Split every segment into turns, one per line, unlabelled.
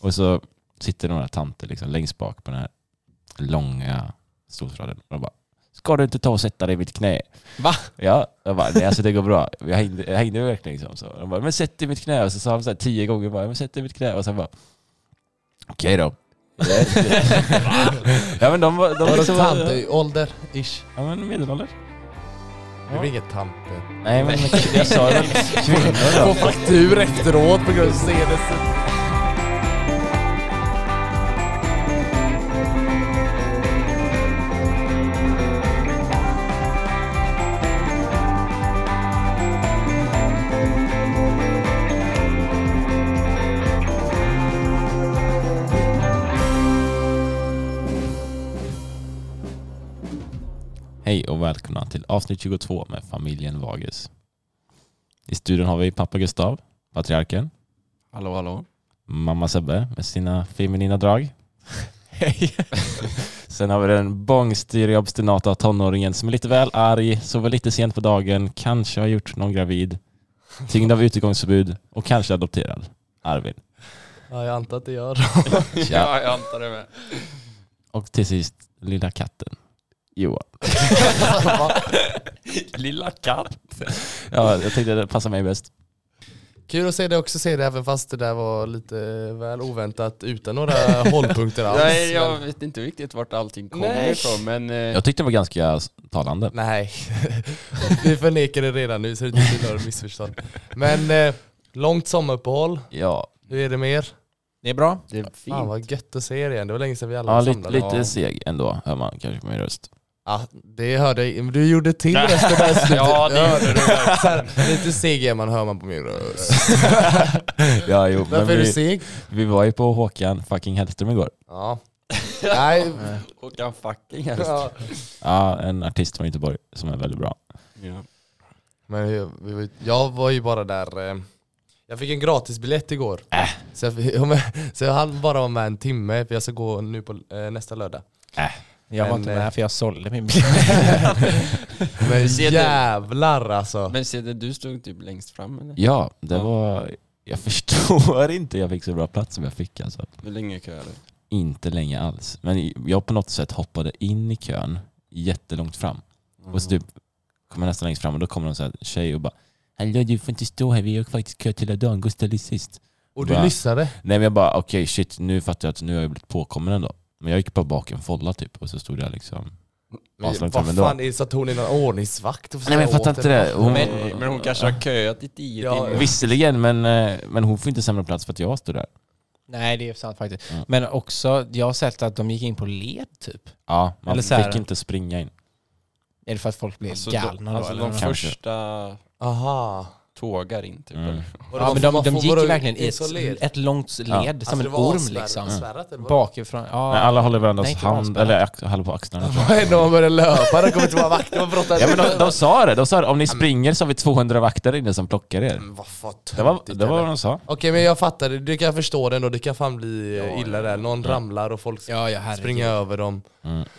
Och så sitter några tanter liksom längst bak på den här långa stolsraden. Och de bara, ska du inte ta och sätta dig i mitt knä?
Va?
Ja, jag bara, nej alltså det går bra. Jag hängde, jag hängde verkligen liksom. Så de bara, men sätt dig i mitt knä. Och så sa han så här tio gånger bara, men sätt dig i mitt knä. Och sen bara, okej då. ja men de var, de
Var det
liksom,
tant i ålder? Ish.
ja men medelålders.
Det blir inget tant.
Nej men jag sa väl kvinnor
Få
då.
faktur efteråt på grund av senaste...
Hej och välkomna till avsnitt 22 med familjen Vages. I studion har vi pappa Gustav, patriarken,
Hallå hallå.
mamma Sebbe med sina feminina drag. Hej! Sen har vi den bångstyriga obstinata tonåringen som är lite väl arg, sover lite sent på dagen, kanske har gjort någon gravid, tyngd av utegångsförbud och kanske adopterad. Arvin.
Ja, jag antar att det gör.
Ja,
jag antar det med.
Och till sist lilla katten, Johan.
Lilla katt.
Ja, jag tänkte det passar mig bäst.
Kul att se dig också se det även fast det där var lite väl oväntat utan några hållpunkter alls.
Nej, jag
men-
vet inte riktigt vart allting kommer
Nej.
ifrån men... eh,
Jag tyckte det var ganska talande.
Nej, vi förnekar det redan nu så det inte blir några missförstånd. Men eh, långt sommaruppehåll,
Ja,
hur är det med er?
Det är bra.
Det är fint.
Fan vad gött att se er igen, det var länge sedan vi alla
ja
var
lite,
samlade.
lite seg ändå, hör man kanske på min röst.
Ja, det hörde jag, men du gjorde till rösten där i slutet.
Ja, det gjorde du.
Så här, Lite seg är man hör man på min röst.
ja, jo, men
Varför är du
vi,
seg?
vi var ju på Håkan fucking Hellström igår.
Ja. Nej,
Och kan fucking helst.
ja.
Ja, en artist från Göteborg som är väldigt bra.
Ja.
Men jag, vi var ju- jag var ju bara där, eh, jag fick en gratisbiljett igår.
Äh.
Så, jag, fick- ja, men- så jag hann bara vara med en timme, för jag ska gå nu på eh, nästa lördag.
Jag var
Men,
inte
eh,
med för jag sålde min bil.
Men
Ser du?
jävlar alltså.
Men ser du, du stod typ längst fram eller?
Ja, det
Ja.
var... Jag förstår inte jag fick så bra plats som jag fick alltså.
Hur länge köade
Inte länge alls. Men jag på något sätt hoppade in i kön jättelångt fram. Och
Mm.
så typ kommer nästan längst fram och då kommer någon så här tjej och bara Hallå du får inte stå här, vi har faktiskt kört hela dagen, gå och ställ dig sist.
Och du
Va?
lyssnade?
Nej men jag bara okej shit, nu fattar jag att nu har jag blivit påkommen ändå. Men jag gick bara bak en folla typ och så stod jag liksom
Men
Avslöjat
vad
vem ändå.
fan, är det så att hon är någon ordningsvakt? och får
Nej men jag
säga
fattar
åt
inte
henne?
det. Hon,
Men, men hon kanske har köat i tio
Ja,
timmar.
Visserligen, men, eh, men hon får inte sämre plats för att jag stod där.
Nej, det är sant faktiskt.
Mm.
Men också, jag har sett att de gick in på led typ.
Ja, man
Eller så här-
fick inte springa in.
Är det för att folk blev
Alltså,
galna
de,
då?
alltså,
eller
de
något?
Kanske.
första
Aha.
tågar in typ.
Mm.
eller?
Och det
ja,
var-
men de,
man
de
får
gick
vara
ju verkligen i
isolerad.
ett, ett långt led,
Ja.
som
Alltså, det
en
var
orm
avspärrat-
liksom.
spärrat, eller vad?
Bakifrån. Ja.
Men alla håller varandras
Nej, inte
hand,
avspärrat.
eller ax- håller på axlarna tror jag.
Vad hände om man började löpa? De kommer inte vara vakter och brottar.
Ja men de, de sa det, de sa det. Om ni springer så har vi 200 vakter inne som plockar er.
Men Vad fan
Det var,
töntigt,
det var
eller?
vad de sa.
Okej men jag fattar, det. du kan förstå den och det kan fan bli eh, illa där. Någon ramlar och folk
ja, ja, herregud.
springer över dem.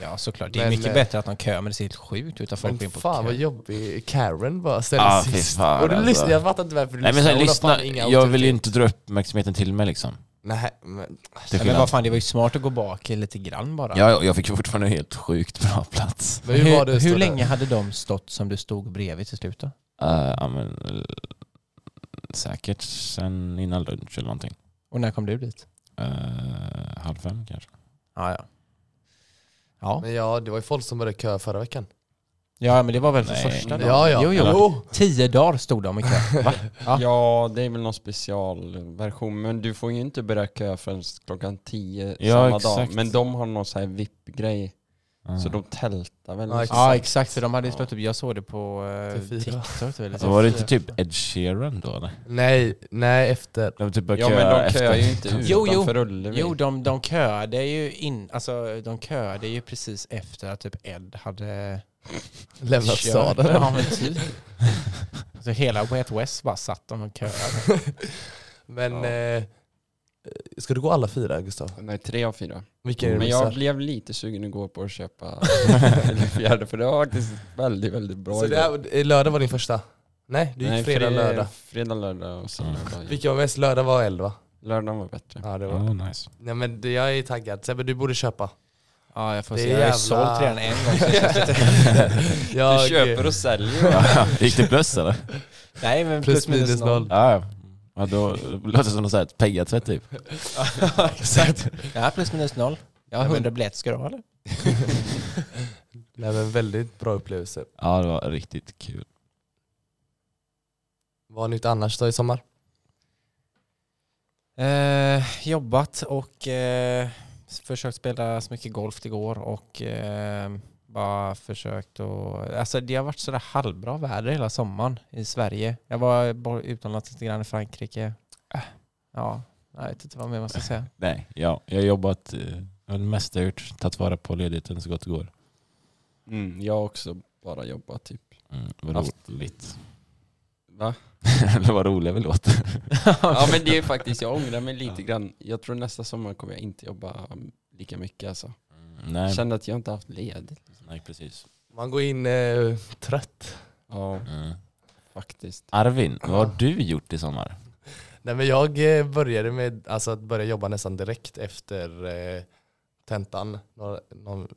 Ja, såklart. Det är
Men,
mycket
eh,
bättre att de kör, men det ser helt sjukt ut att folk går in
Men
på
fan vad
kö.
jobbig Karen var ställde
Ja, fy
sist.
fan,
och du
alltså.
lyssnar, jag fattar inte varför du
Nej men så här,
Hon har
lyssna,
fan inga
jag vill ju inte
auktoriteter.
dra uppmärksamheten till mig liksom.
Nej men...
Till
Nej, men vad
skillnad.
fan, det var ju smart att gå bak lite grann bara.
Ja, ja, jag fick ju fortfarande helt sjukt bra plats.
men hur, var det att stå
hur
där?
länge hade de stått som du stod bredvid till slut då?
Eh, ja, men, eh, säkert sen innan lunch eller någonting.
Och när kom du dit?
Eh, halv fem kanske.
Ja, ja. Ja,
Men ja, det var ju folk som började köa förra veckan.
ja men det var väl för
Nej.
första dagen?
Ja, ja.
Jo, jo.
Jo.
Tio dagar stod de i kö. Ja.
Ja, det är väl någon specialversion. Men du får ju inte börja köa förrän klockan 10
Ja,
samma dag.
exakt.
Men de har någon sån här VIP-grej.
Uh.
Så de tältar väl. liksom.
Ja,
och så.
exakt.
Ja exakt, för de hade ju slått upp, jag såg det på eh,
Till fyra.
TikTok. Eller
Så
så.
var det inte typ Ed Sheeran då eller?
Nej, nej efter.
De typ började
Ja men
köa
de köar ju inte
efter.
Jo, jo.
utanför Ullevi.
Jo, de, de köade ju in, alltså de köade ju precis efter att typ Ed hade
Lämnat
kört.
staden.
Ja men typ. Så alltså, hela Wet West bara satt de och köade.
Men...
Ja.
Eh, ska du gå alla fyra Gustav?
Nej, tre av fyra.
Vilken är det
Men
du
jag
missar?
blev lite sugen igår på att köpa en fjärde, för det var faktiskt väldigt, väldigt bra
Så det
igår.
här, lördag var din första? Nej, du gick
Nej,
fredag,
fre-
lördag.
Fredag, lördag och sen
Mm.
lördag.
Vilken var mest? Lördag var elva.
Lördagen var bättre.
Ja, det var...
Oh, nice.
Nej men det, jag är taggad. Sebbe du borde köpa.
Ja, jag får
Det är
se. Jag har ju
jävla-
sålt redan en gång. Så det känns lite...
Jag,
Du köper och säljer.
Gick det plus eller?
Nej, men
Plus minus noll.
Ja, ja. ja då låter det som något sånt peggatvätt typ.
Ja, exakt. Ja, plus minus noll. Jag har
Ja, men-
100 biljetter. Ska du ha eller?
Nej men väldigt bra upplevelse.
Ja, det var riktigt kul.
Vad har ni gjort annars då i sommar?
Eh, jobbat och eh, försökt spela så mycket golf det går och eh, bara försökt att... Alltså det har varit sådär halvbra väder hela sommaren i Sverige. Jag var bo- utomlands lite grann i Frankrike. Ja, jag vet inte vad mer man ska säga.
Nej, ja, jag har jobbat, eh, det mesta jag har gjort, tagit vara på ledigheten så gott det går.
Mm, jag har också bara jobbat typ.
Mm, vad
Haft-
roligt.
Va?
eller vad roliga vi låter.
Ja men det är faktiskt, jag ångrar mig lite grann. Jag tror nästa sommar kommer jag inte jobba um, lika mycket alltså.
Mm, Nej,
Jag kände att jag inte haft ledigt.
nej, precis.
Man går in eh, trött.
Ja,
Mm.
faktiskt.
Arvin, vad har du gjort i sommar?
Nej men jag eh, började med alltså, att börja jobba nästan direkt efter eh, tentan. Några, någon,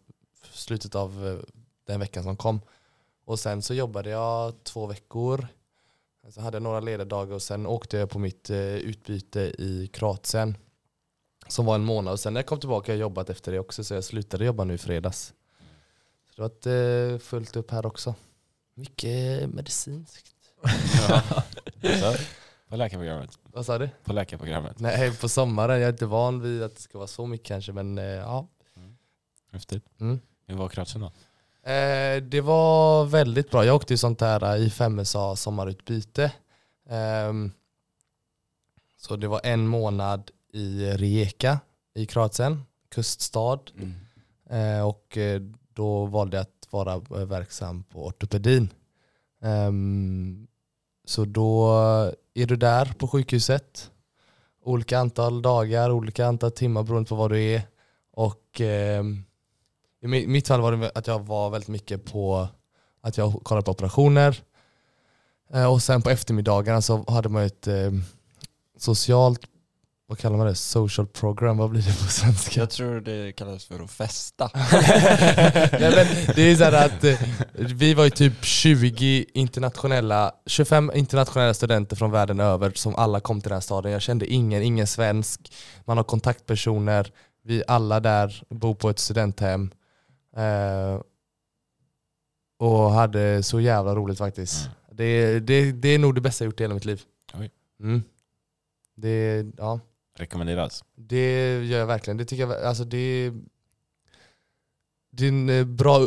slutet av eh, den veckan som kom. Och sen så jobbade jag två veckor. Så hade jag några ledardagar och sen åkte jag på mitt eh, utbyte i Kroatien. Som var en månad och sen när jag kom tillbaka har jag jobbat efter det också så jag slutade jobba nu i fredags. Så det har varit eh, fullt upp här också. Mycket medicinskt.
Så, på läkarprogrammet.
Vad sa du?
På läkarprogrammet.
Nej, på sommaren. Jag är inte van vid att det ska vara så mycket kanske, men eh, ja.
Häftigt.
Mm.
Hur var Kroatien då?
Eh, det var väldigt bra. Jag åkte ju sånt här eh, i 5SA sommarutbyte. Ehm, så det var en månad i Rijeka i Kroatien, kuststad.
Mm.
Eh, och eh, då valde jag att vara eh, verksam på ortopedin. Ehm, så då är du där på sjukhuset. Olika antal dagar, olika antal timmar beroende på var du är. Och ehm, i mi- mitt fall var det att jag var väldigt mycket på att jag kollade på operationer. Eh, och sen på eftermiddagarna så hade man ett eh, socialt, vad kallar man det? Social program, vad blir det på svenska?
Jag tror det kallas för att festa.
Nej, men det är så här att eh, vi var ju typ 20 internationella, 25 internationella studenter från världen över som alla kom till den här staden. Jag kände ingen, ingen svensk. Man har kontaktpersoner. Vi alla där bor på ett studenthem. Eh, och hade så jävla roligt faktiskt.
Mm.
Det, det, det är nog det bästa jag gjort i hela mitt liv.
Oj.
Mm. Det, ja.
Rekommenderas.
Det gör jag verkligen. Det tycker jag, alltså det, det är en eh, bra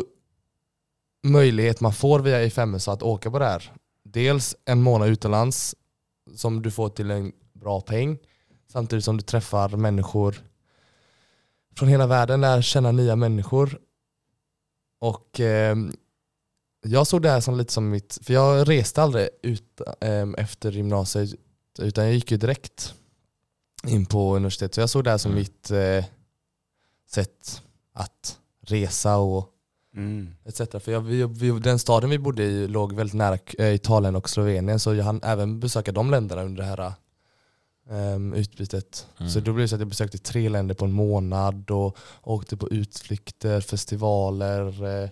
möjlighet man får via i så att åka på det här. Dels en månad utomlands som du får till en bra peng samtidigt som du träffar människor från hela världen, lär känna nya människor. Och eh, jag såg det här som lite som mitt, för jag reste aldrig ut, eh, efter gymnasiet utan jag gick ju direkt in på universitet. Så jag såg det här som
Mm.
mitt eh, sätt att resa och
Mm.
etc. För jag, vi, vi, den staden vi bodde i låg väldigt nära eh, Italien och Slovenien så jag hann även besöka de länderna under det här ehm, utbytet.
Mm.
Så då blev det så att jag besökte tre länder på en månad och åkte på utflykter, festivaler, eh,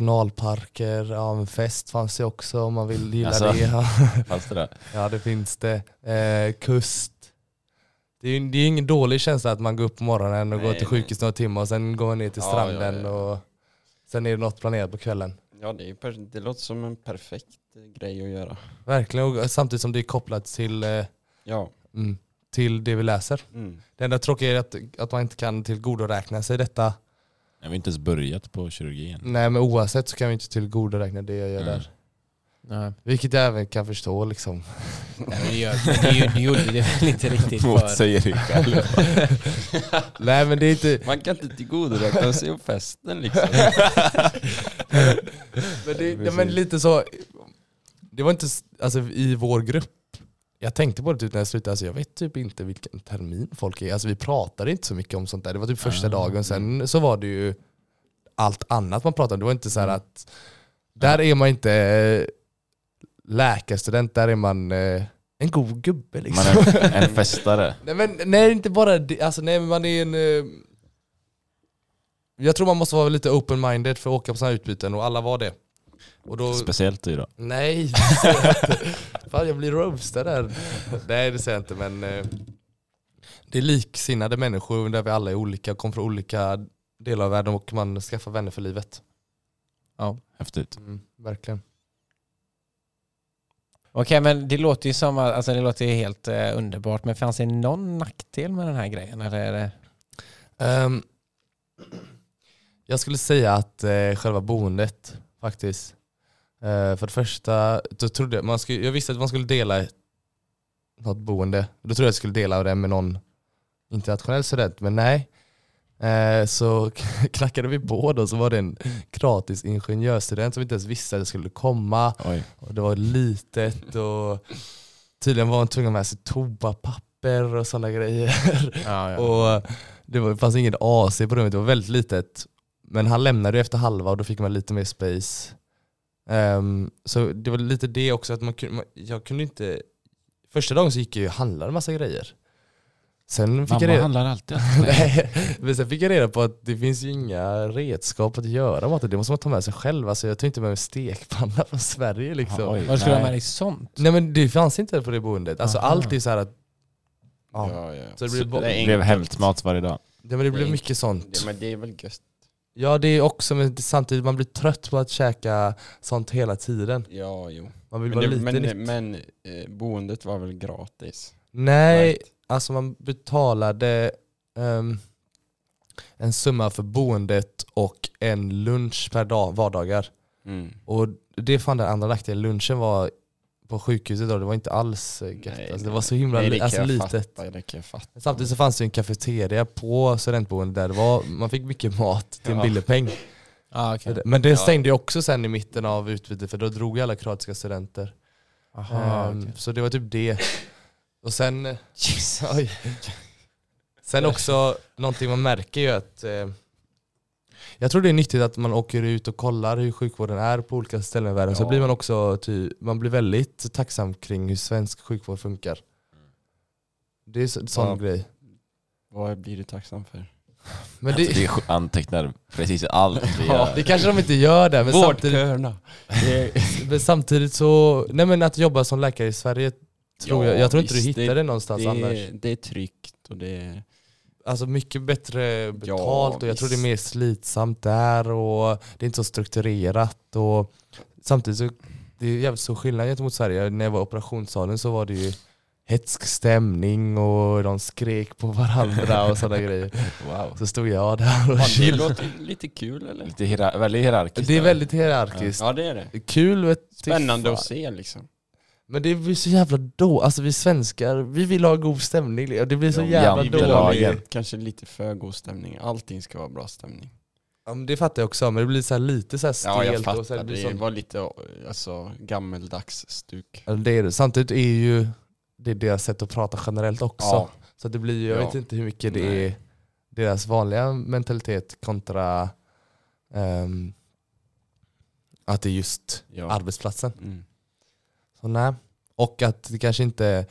nationalparker, ja, en fest fanns det också om man vill gilla
Alltså.
det.
Fanns det där?
Ja det finns det. Eh, kust. Det är, ju- det är ingen dålig känsla att man går upp på morgonen och går
Nej,
till
nej.
sjukhus några timmar och sen går man ner till
Ja,
stranden
ja, ja.
och sen är det något planerat på kvällen.
Ja det, är, per- det låter som en perfekt eh, grej att göra.
Verkligen, och samtidigt som det är kopplat till, eh,
Ja.
mm, till det vi läser.
Mm.
Det enda tråkiga är att, att man inte kan tillgodoräkna sig detta.
Mm.
Jag har inte ens börjat på kirurgin.
Nej men oavsett så kan vi inte tillgodoräkna det jag gör
Mm.
där.
Nej.
Vilket jag även kan förstå liksom.
Nej, men det, gör, det, gör- det gjorde det väl inte riktigt för...
Motsäger dig själv.
Nej men det är inte,
Man kan inte tillgodoräkna sig om festen liksom.
Men, det, nej, men lite så, det var inte s- alltså, i vår grupp. Jag tänkte på det typ när jag slutade, alltså, jag vet typ inte vilken termin folk är. Alltså, vi pratade inte så mycket om sånt där. Det var typ första
Ah.
dagen, sen så var det ju allt annat man pratade om. Det var inte så här
Mm.
att, där är man inte eh, läkarstudent, där är man eh, en god gubbe liksom.
Man är en- en festare.
Nej men nej, inte bara det. Alltså, nej, men man är en... eh, Jag tror man måste vara lite open-minded för att åka på sådana här utbyten och alla var det. Och då,
Speciellt du då.
nej, det säger jag inte. Fan jag blir roastad där. Nej det säger jag inte men eh, det är liksinnade människor där vi alla är olika och kommer från olika delar av världen och man skaffar vänner för livet.
Häftigt.
verkligen.
Okej, men det låter ju som att, alltså det låter ju helt eh, underbart, men fanns det någon nackdel med den här grejen? Eller är det...
Ehm, jag skulle säga att eh, själva boendet faktiskt. Eh, för det första, då trodde jag, man skulle, jag visste att man skulle dela något boende. Då trodde jag att jag skulle dela det med någon internationell student, men nej. Eh, så knackade vi på då, så var det en gratis ingenjörsstudent som inte ens visste att jag skulle komma.
Oj.
Och det var litet och tydligen var han tvungen att ha med sig toapapper och sådana grejer.
Ja,
Och det var, fanns ingen AC på rummet, det var väldigt litet. Men han lämnade ju efter halva och då fick man lite mer space. Ehm, så det var lite det också, att man kunde, man, jag kunde inte... Första dagen så gick jag ju och handlade massa grejer. Sen fick, jag
Mamma
reda,
handlar alltid.
nej, men sen fick jag reda på att det finns ju inga redskap att göra maten, det måste man ta med sig själv. Alltså jag tog inte med mig stekpanna från Sverige liksom.
Oj,
Vad skulle du ha med
nej.
dig sånt?
nej men det fanns inte på det boendet. Alltså
Aha.
allt är så här att... Ja.
Ja, ja.
Så det
Så
blev, bo-
Det blev hämtmat varje dag.
nej, men det blev mycket sånt.
Det, men det är väl gött.
Ja det är också, men samtidigt man blir trött på att käka sånt hela tiden.
Ja, jo.
Man vill
Men,
bara
det,
lite nytt.
men, men eh, boendet var väl gratis?
Nej,
Right.
alltså man betalade ehm, en summa för boendet och en lunch per dag, vardagar.
Mm.
Och det är fan den andra nackdelen, lunchen var på sjukhuset då, det var inte alls eh, gött.
Nej,
alltså, det var så himla
Nej, det
li-
kan
alltså,
jag
litet.
fatta. Det kan jag fatta.
Samtidigt så fanns det ju en kafeteria på studentboendet där det var, man fick mycket mat till
Ja.
en billig peng.
Ah, okay.
Men det stängde ju också sen i mitten av utbytet för då drog ju alla kroatiska studenter.
Aha,
Ehm,
okej.
Så det var typ det. Och sen, oj. sen också någonting man märker ju att eh, jag tror det är nyttigt att man åker ut och kollar hur sjukvården är på olika ställen i världen. Så
Ja.
blir man också ty, man blir väldigt tacksam kring hur svensk sjukvård funkar. Det är så- sån
Ja.
grej.
Vad blir du tacksam för?
Men
Alltså,
det,
det antecknar precis allt vi
ja,
gör.
det kanske de inte gör där men samtidigt
Vårdköerna.
Men samtidigt så, nej men att jobba som läkare i Sverige tror
Ja,
jag, jag tror inte
visst,
du hittar det, någonstans
Det,
annars.
det är tryggt och det är...
Alltså mycket bättre betalt och jag tror det är mer slitsamt där och det är inte så strukturerat och samtidigt så, det är jävligt stor skillnad gentemot Sverige. När jag var i operationssalen så var det ju hetsk stämning och de skrek på varandra och sådana grejer.
Wow.
Så stod jag där och
Fan, det
chillade.
låter lite kul eller?
Lite hierar- väldigt hierarkiskt.
Det är väldigt hierarkiskt.
Ja det är det.
Kul vet du
Spännande
fan.
att se liksom.
Men det blir så jävla då, alltså vi svenskar, vi vill ha god stämning. liksom. Det blir så
Ja,
jävla
vi vill ha-
dåligt.
Lagen.
Kanske lite för god stämning. Allting ska vara bra stämning.
Ja, men det fattar jag också, men det blir så här lite så här stelt.
Ja jag
och så
fattar.
här, det, liksom-
Det
blir sånt.
var lite alltså, gammeldags stuk.
Ja, det är det. Samtidigt är ju det deras sätt att prata generellt också.
Ja.
Så det blir ju, jag
Ja.
vet inte hur mycket det
Nej.
är deras vanliga mentalitet kontra ehm, att det är just
Ja.
arbetsplatsen.
Mm.
Så, nej. Och att det kanske inte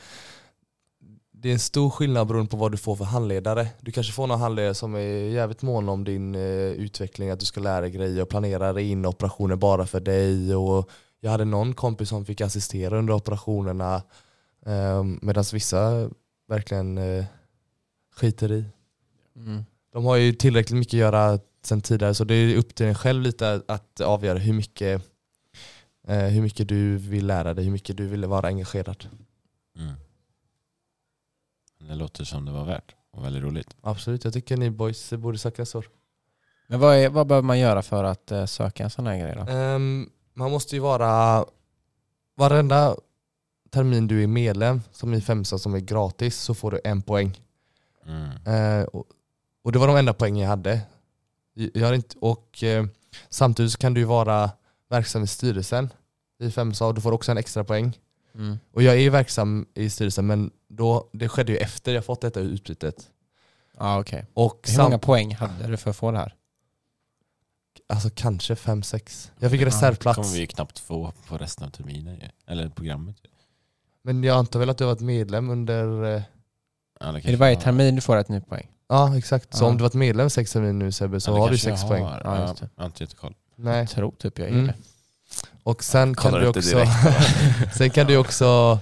det är en stor skillnad beroende på vad du får för handledare. Du kanske får någon handledare som är jävligt mån om din eh, utveckling, att du ska lära dig grejer och planera in operationer bara för dig. Och jag hade någon kompis som fick assistera under operationerna eh, medan vissa verkligen eh, skiter i.
Mm.
De har ju tillräckligt mycket att göra sen tidigare så det är upp till en själv lite att avgöra hur mycket, eh, hur mycket du vill lära dig, hur mycket du vill vara engagerad.
Mm. Det låter som det var värt och väldigt roligt.
Absolut, jag tycker ni boys borde söka nästa år.
Men vad, är, vad behöver man göra för att eh, söka en sån här grej då?
Ehm, man måste ju vara varenda termin du är medlem, som i Femsa som är gratis, så får du en poäng.
Mm.
Eh, och, och det var de enda poängen jag hade. Jag har inte, och eh, samtidigt så kan du ju vara verksam i styrelsen i Femsa och du får också en extra poäng.
Mm.
Och jag är ju verksam i styrelsen men då, det skedde ju efter jag fått detta utbytet.
Ah, okay.
Och
Hur
sam,
många poäng hade du för att få det här?
alltså kanske fem sex. Jag fick
Ja,
kommer
reservplats.
vi ju knappt få på resten av terminen ju. Eller programmet. ju.
Men jag antar väl att du har varit medlem under eh,
Ja,
Är det varje termin du får ett nytt poäng?
Ja exakt, så
Ja.
om du varit medlem sex terminer nu Sebbe så
Eller
har du
kanske jag
sex poäng.
Har.
Ja,
Ja,
just det.
Jag har inte jättekoll.
Nej.
Jag tror typ jag är
Mm.
det.
Och sen kan
kollar
du
inte
också,
direkt.
sen kan du också,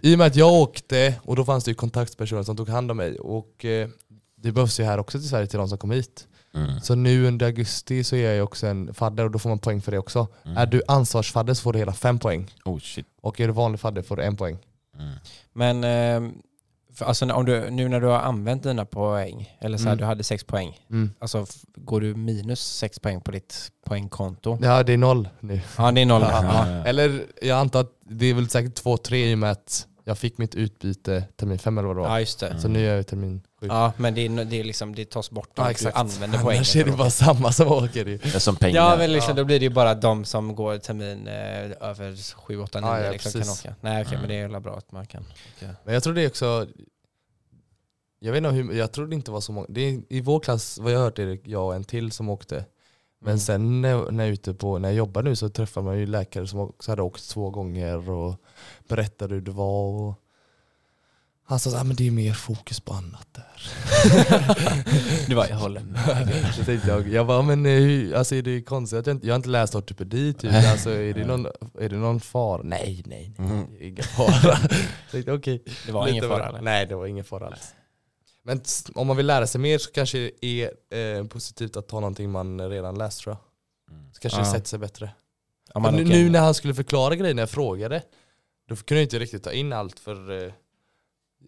i och med att jag åkte och då fanns det ju kontaktpersoner som tog hand om mig och eh, det behövs ju här också till Sverige till de som kom hit.
Mm.
Så nu under augusti så är jag ju också en fadder och då får man poäng för det också.
Mm.
Är du ansvarsfadder så får du hela fem poäng
Oh shit.
och är du vanlig fadder får du en poäng.
Mm.
Men ehm, för, alltså, om du, nu när du har använt dina poäng, eller så här,
Mm.
du hade sex poäng, alltså f- går du minus sex poäng på ditt poängkonto?
Ja det är noll nu.
Ja, det är noll.
Ja,
Ja,
ja.
ja.
Eller jag antar att det är väl säkert två, tre i och med att jag fick mitt utbyte termin fem eller vad det var.
Ja, just det.
Så nu är jag i termin sju.
Ja, men det, är, det, är liksom, det tas bort om
Ja,
du
exakt.
använder poängen.
Annars är det bara samma som åker ju.
Det är som pengar.
Ja, men liksom,
Ja.
då blir det ju bara de som går termin eh, över 7, 8, 9
Ja, ja,
liksom, kan
precis.
åka. Nej, okej,
Mm.
men det är jävla bra att man kan.
Men jag tror det är också, jag vet inte hur, jag tror det inte var så många, det är, i vår klass vad jag har hört är det jag och en till som åkte. Men
Mm.
sen när, när, jag är ute på, när jag jobbar nu så träffar man ju läkare som också hade åkt två gånger och berättade hur det var. Och han sa att ah, men det är mer fokus på annat där.
Du bara, jag håller med.
Så tänkte jag, jag bara, men eh, hur, alltså är det konstigt att jag inte, jag har inte läst ortopedi typ, alltså är det någon, är det någon fara? Nej, nej, nej,
Mm.
det är ingen fara. Så tänkte jag, okej.
Det var
Lite
ingen
var-
fara eller?
Nej, det var ingen fara alls. Men s- om man vill lära sig mer så kanske det är eh, positivt att ta någonting man redan läst tror jag.
Mm.
Så kanske
Ja.
det sätter sig bättre. Men
Om man
nu,
åker-
nu när han skulle förklara grejerna jag frågade, då kunde jag inte riktigt ta in allt för eh,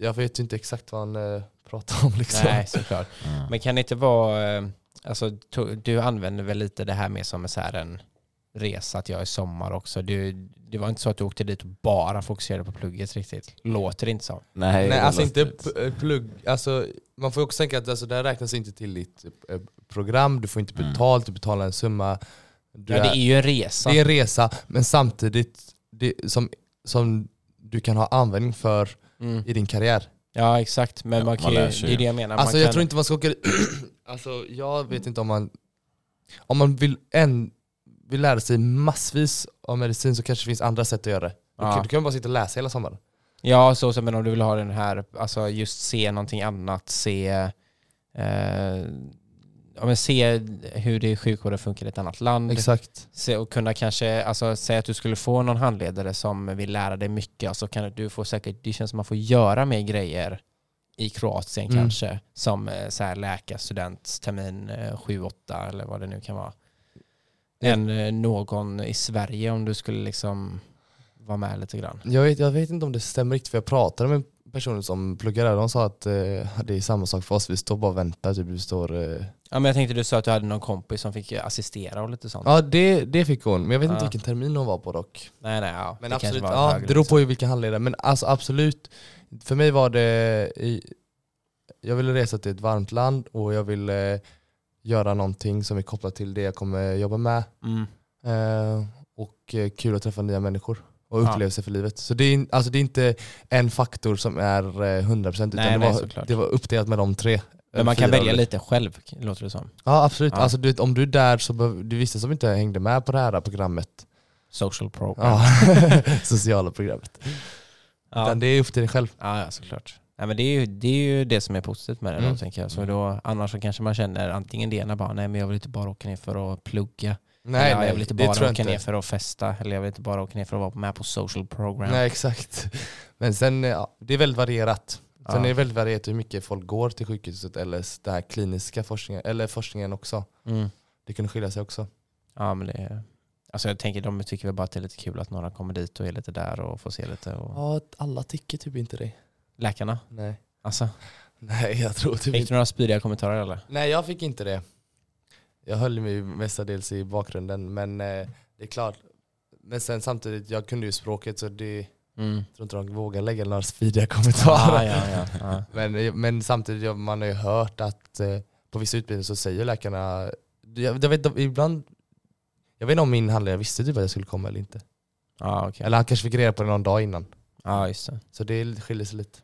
jag vet ju inte exakt vad han eh, pratar om liksom.
Nej, såklart.
Mm.
Men kan det inte vara, eh, alltså to- du använder väl lite det här med som så här en resa att göra i sommar också. Du, det var inte så att du åkte dit och bara fokuserade på plugget riktigt. Låter det inte som.
Nej,
Nej,
det
alltså
låter
inte p- eh, plugg, alltså, man får ju också tänka att alltså, det här räknas inte till ditt eh, program, du får inte
Mm.
betalt, du betalar en summa. Du
ja, det är ju en resa.
Det är en resa, men samtidigt det, som, som du kan ha användning för
Mm.
i din karriär.
Ja, exakt. Men
Ja,
man kan
man
ju,
lär sig
det är
ju.
det jag menar.
alltså
man
jag
kan,
tror inte man ska åka Alltså jag vet inte om man... Om man vill, en, vill lära sig massvis av medicin så kanske det finns andra sätt att göra det. Du,
Ja.
kan, du kan bara sitta och läsa hela sommaren.
Ja, så, så, men om du vill ha den här, alltså just se någonting annat, se, eh, ja, men se hur det sjukvården funkar i ett annat land.
Exakt.
Se, och kunna kanske, alltså säga att du skulle få någon handledare som vill lära dig mycket, alltså kan du få säkert, det känns som man får göra mer grejer i Kroatien
Mm.
kanske, som eh, så här läkarstudent termin eh, 7-8 eller vad det nu kan vara.
Ja.
Än eh, någon i Sverige om du skulle liksom vara med lite grann.
Jag vet, jag vet inte om det stämmer riktigt för jag pratade med personer som pluggar där de sa att eh, det är samma sak för oss, vi står bara och väntar. Typ, vi står, eh...
Ja, men jag tänkte du sa att du hade någon kompis som fick assistera och lite sånt.
Ja det, det fick hon, men jag vet inte
Ja.
vilken termin hon var på dock.
Nej, nej, ja.
Men
det
absolut,
kanske var
ja,
högre
det beror
liksom.
på ju vilken handledare. Men alltså absolut, för mig var det, i, jag ville resa till ett varmt land och jag ville eh, göra någonting som är kopplat till det jag kommer jobba med.
Mm.
Eh, och eh, kul att träffa nya människor och
Ja.
upplevelser för livet. Så det är, in- alltså det är inte en faktor som är eh, 100% utan
Nej,
det,
nej,
var,
såklart.
det var uppdelat med de tre. eh,
Men man kan
fyra
välja
olika-
lite själv, låter det som.
Ja absolut,
Ja.
Alltså, du vet, om du är där så behöver du vissa som inte hängde med på det här programmet,
Social pro.
ja. sociala programmet.
ja.
Utan det är upp till dig själv.
Ja, ja såklart. Nej, men det, är ju, det är ju det som är positivt med det då,
Mm.
tänker jag. Så då, annars så kanske man känner antingen det ena bara, nej men jag vill inte bara åka ner för att plugga.
Nej,
eller,
nej
jag vill inte
det
bara
tror jag
åka
inte.
ner för att festa. Eller jag vill inte bara åka ner för att vara med på social program.
Nej, exakt. Men sen, eh, ja, det är väldigt varierat. Sen
Ja.
är det väldigt varierat hur mycket folk går till sjukhuset eller s- den här kliniska forskningen, eller forskningen också.
Mm.
Det kunde skilja sig också.
Ja, men det är... Alltså jag tänker, de tycker väl bara att det är lite kul att några kommer dit och är lite där och får se lite. Och...
Ja, alla tycker typ inte det.
Läkarna,
Nej,
alltså.
nej jag tror typ
Fick
inte
du några spydiga kommentarer eller?
Nej, jag fick inte det. Jag höll mig mestadels i bakgrunden, men eh, det är klart. Men sen samtidigt, jag kunde ju språket så det
Mm.
jag tror inte de vågar lägga några spydiga
Ah,
kommentarer.
ja, ja, ja.
Men, men samtidigt, ja, man har ju hört att eh, på vissa utbildningar så säger läkarna, jag, jag vet de- ibland, jag vet inte om min handledare visste typ att jag skulle komma eller inte.
Ja, okej.
Eller han kanske fick reda på det någon dag innan.
Ja, just det.
Så det skiljer sig lite.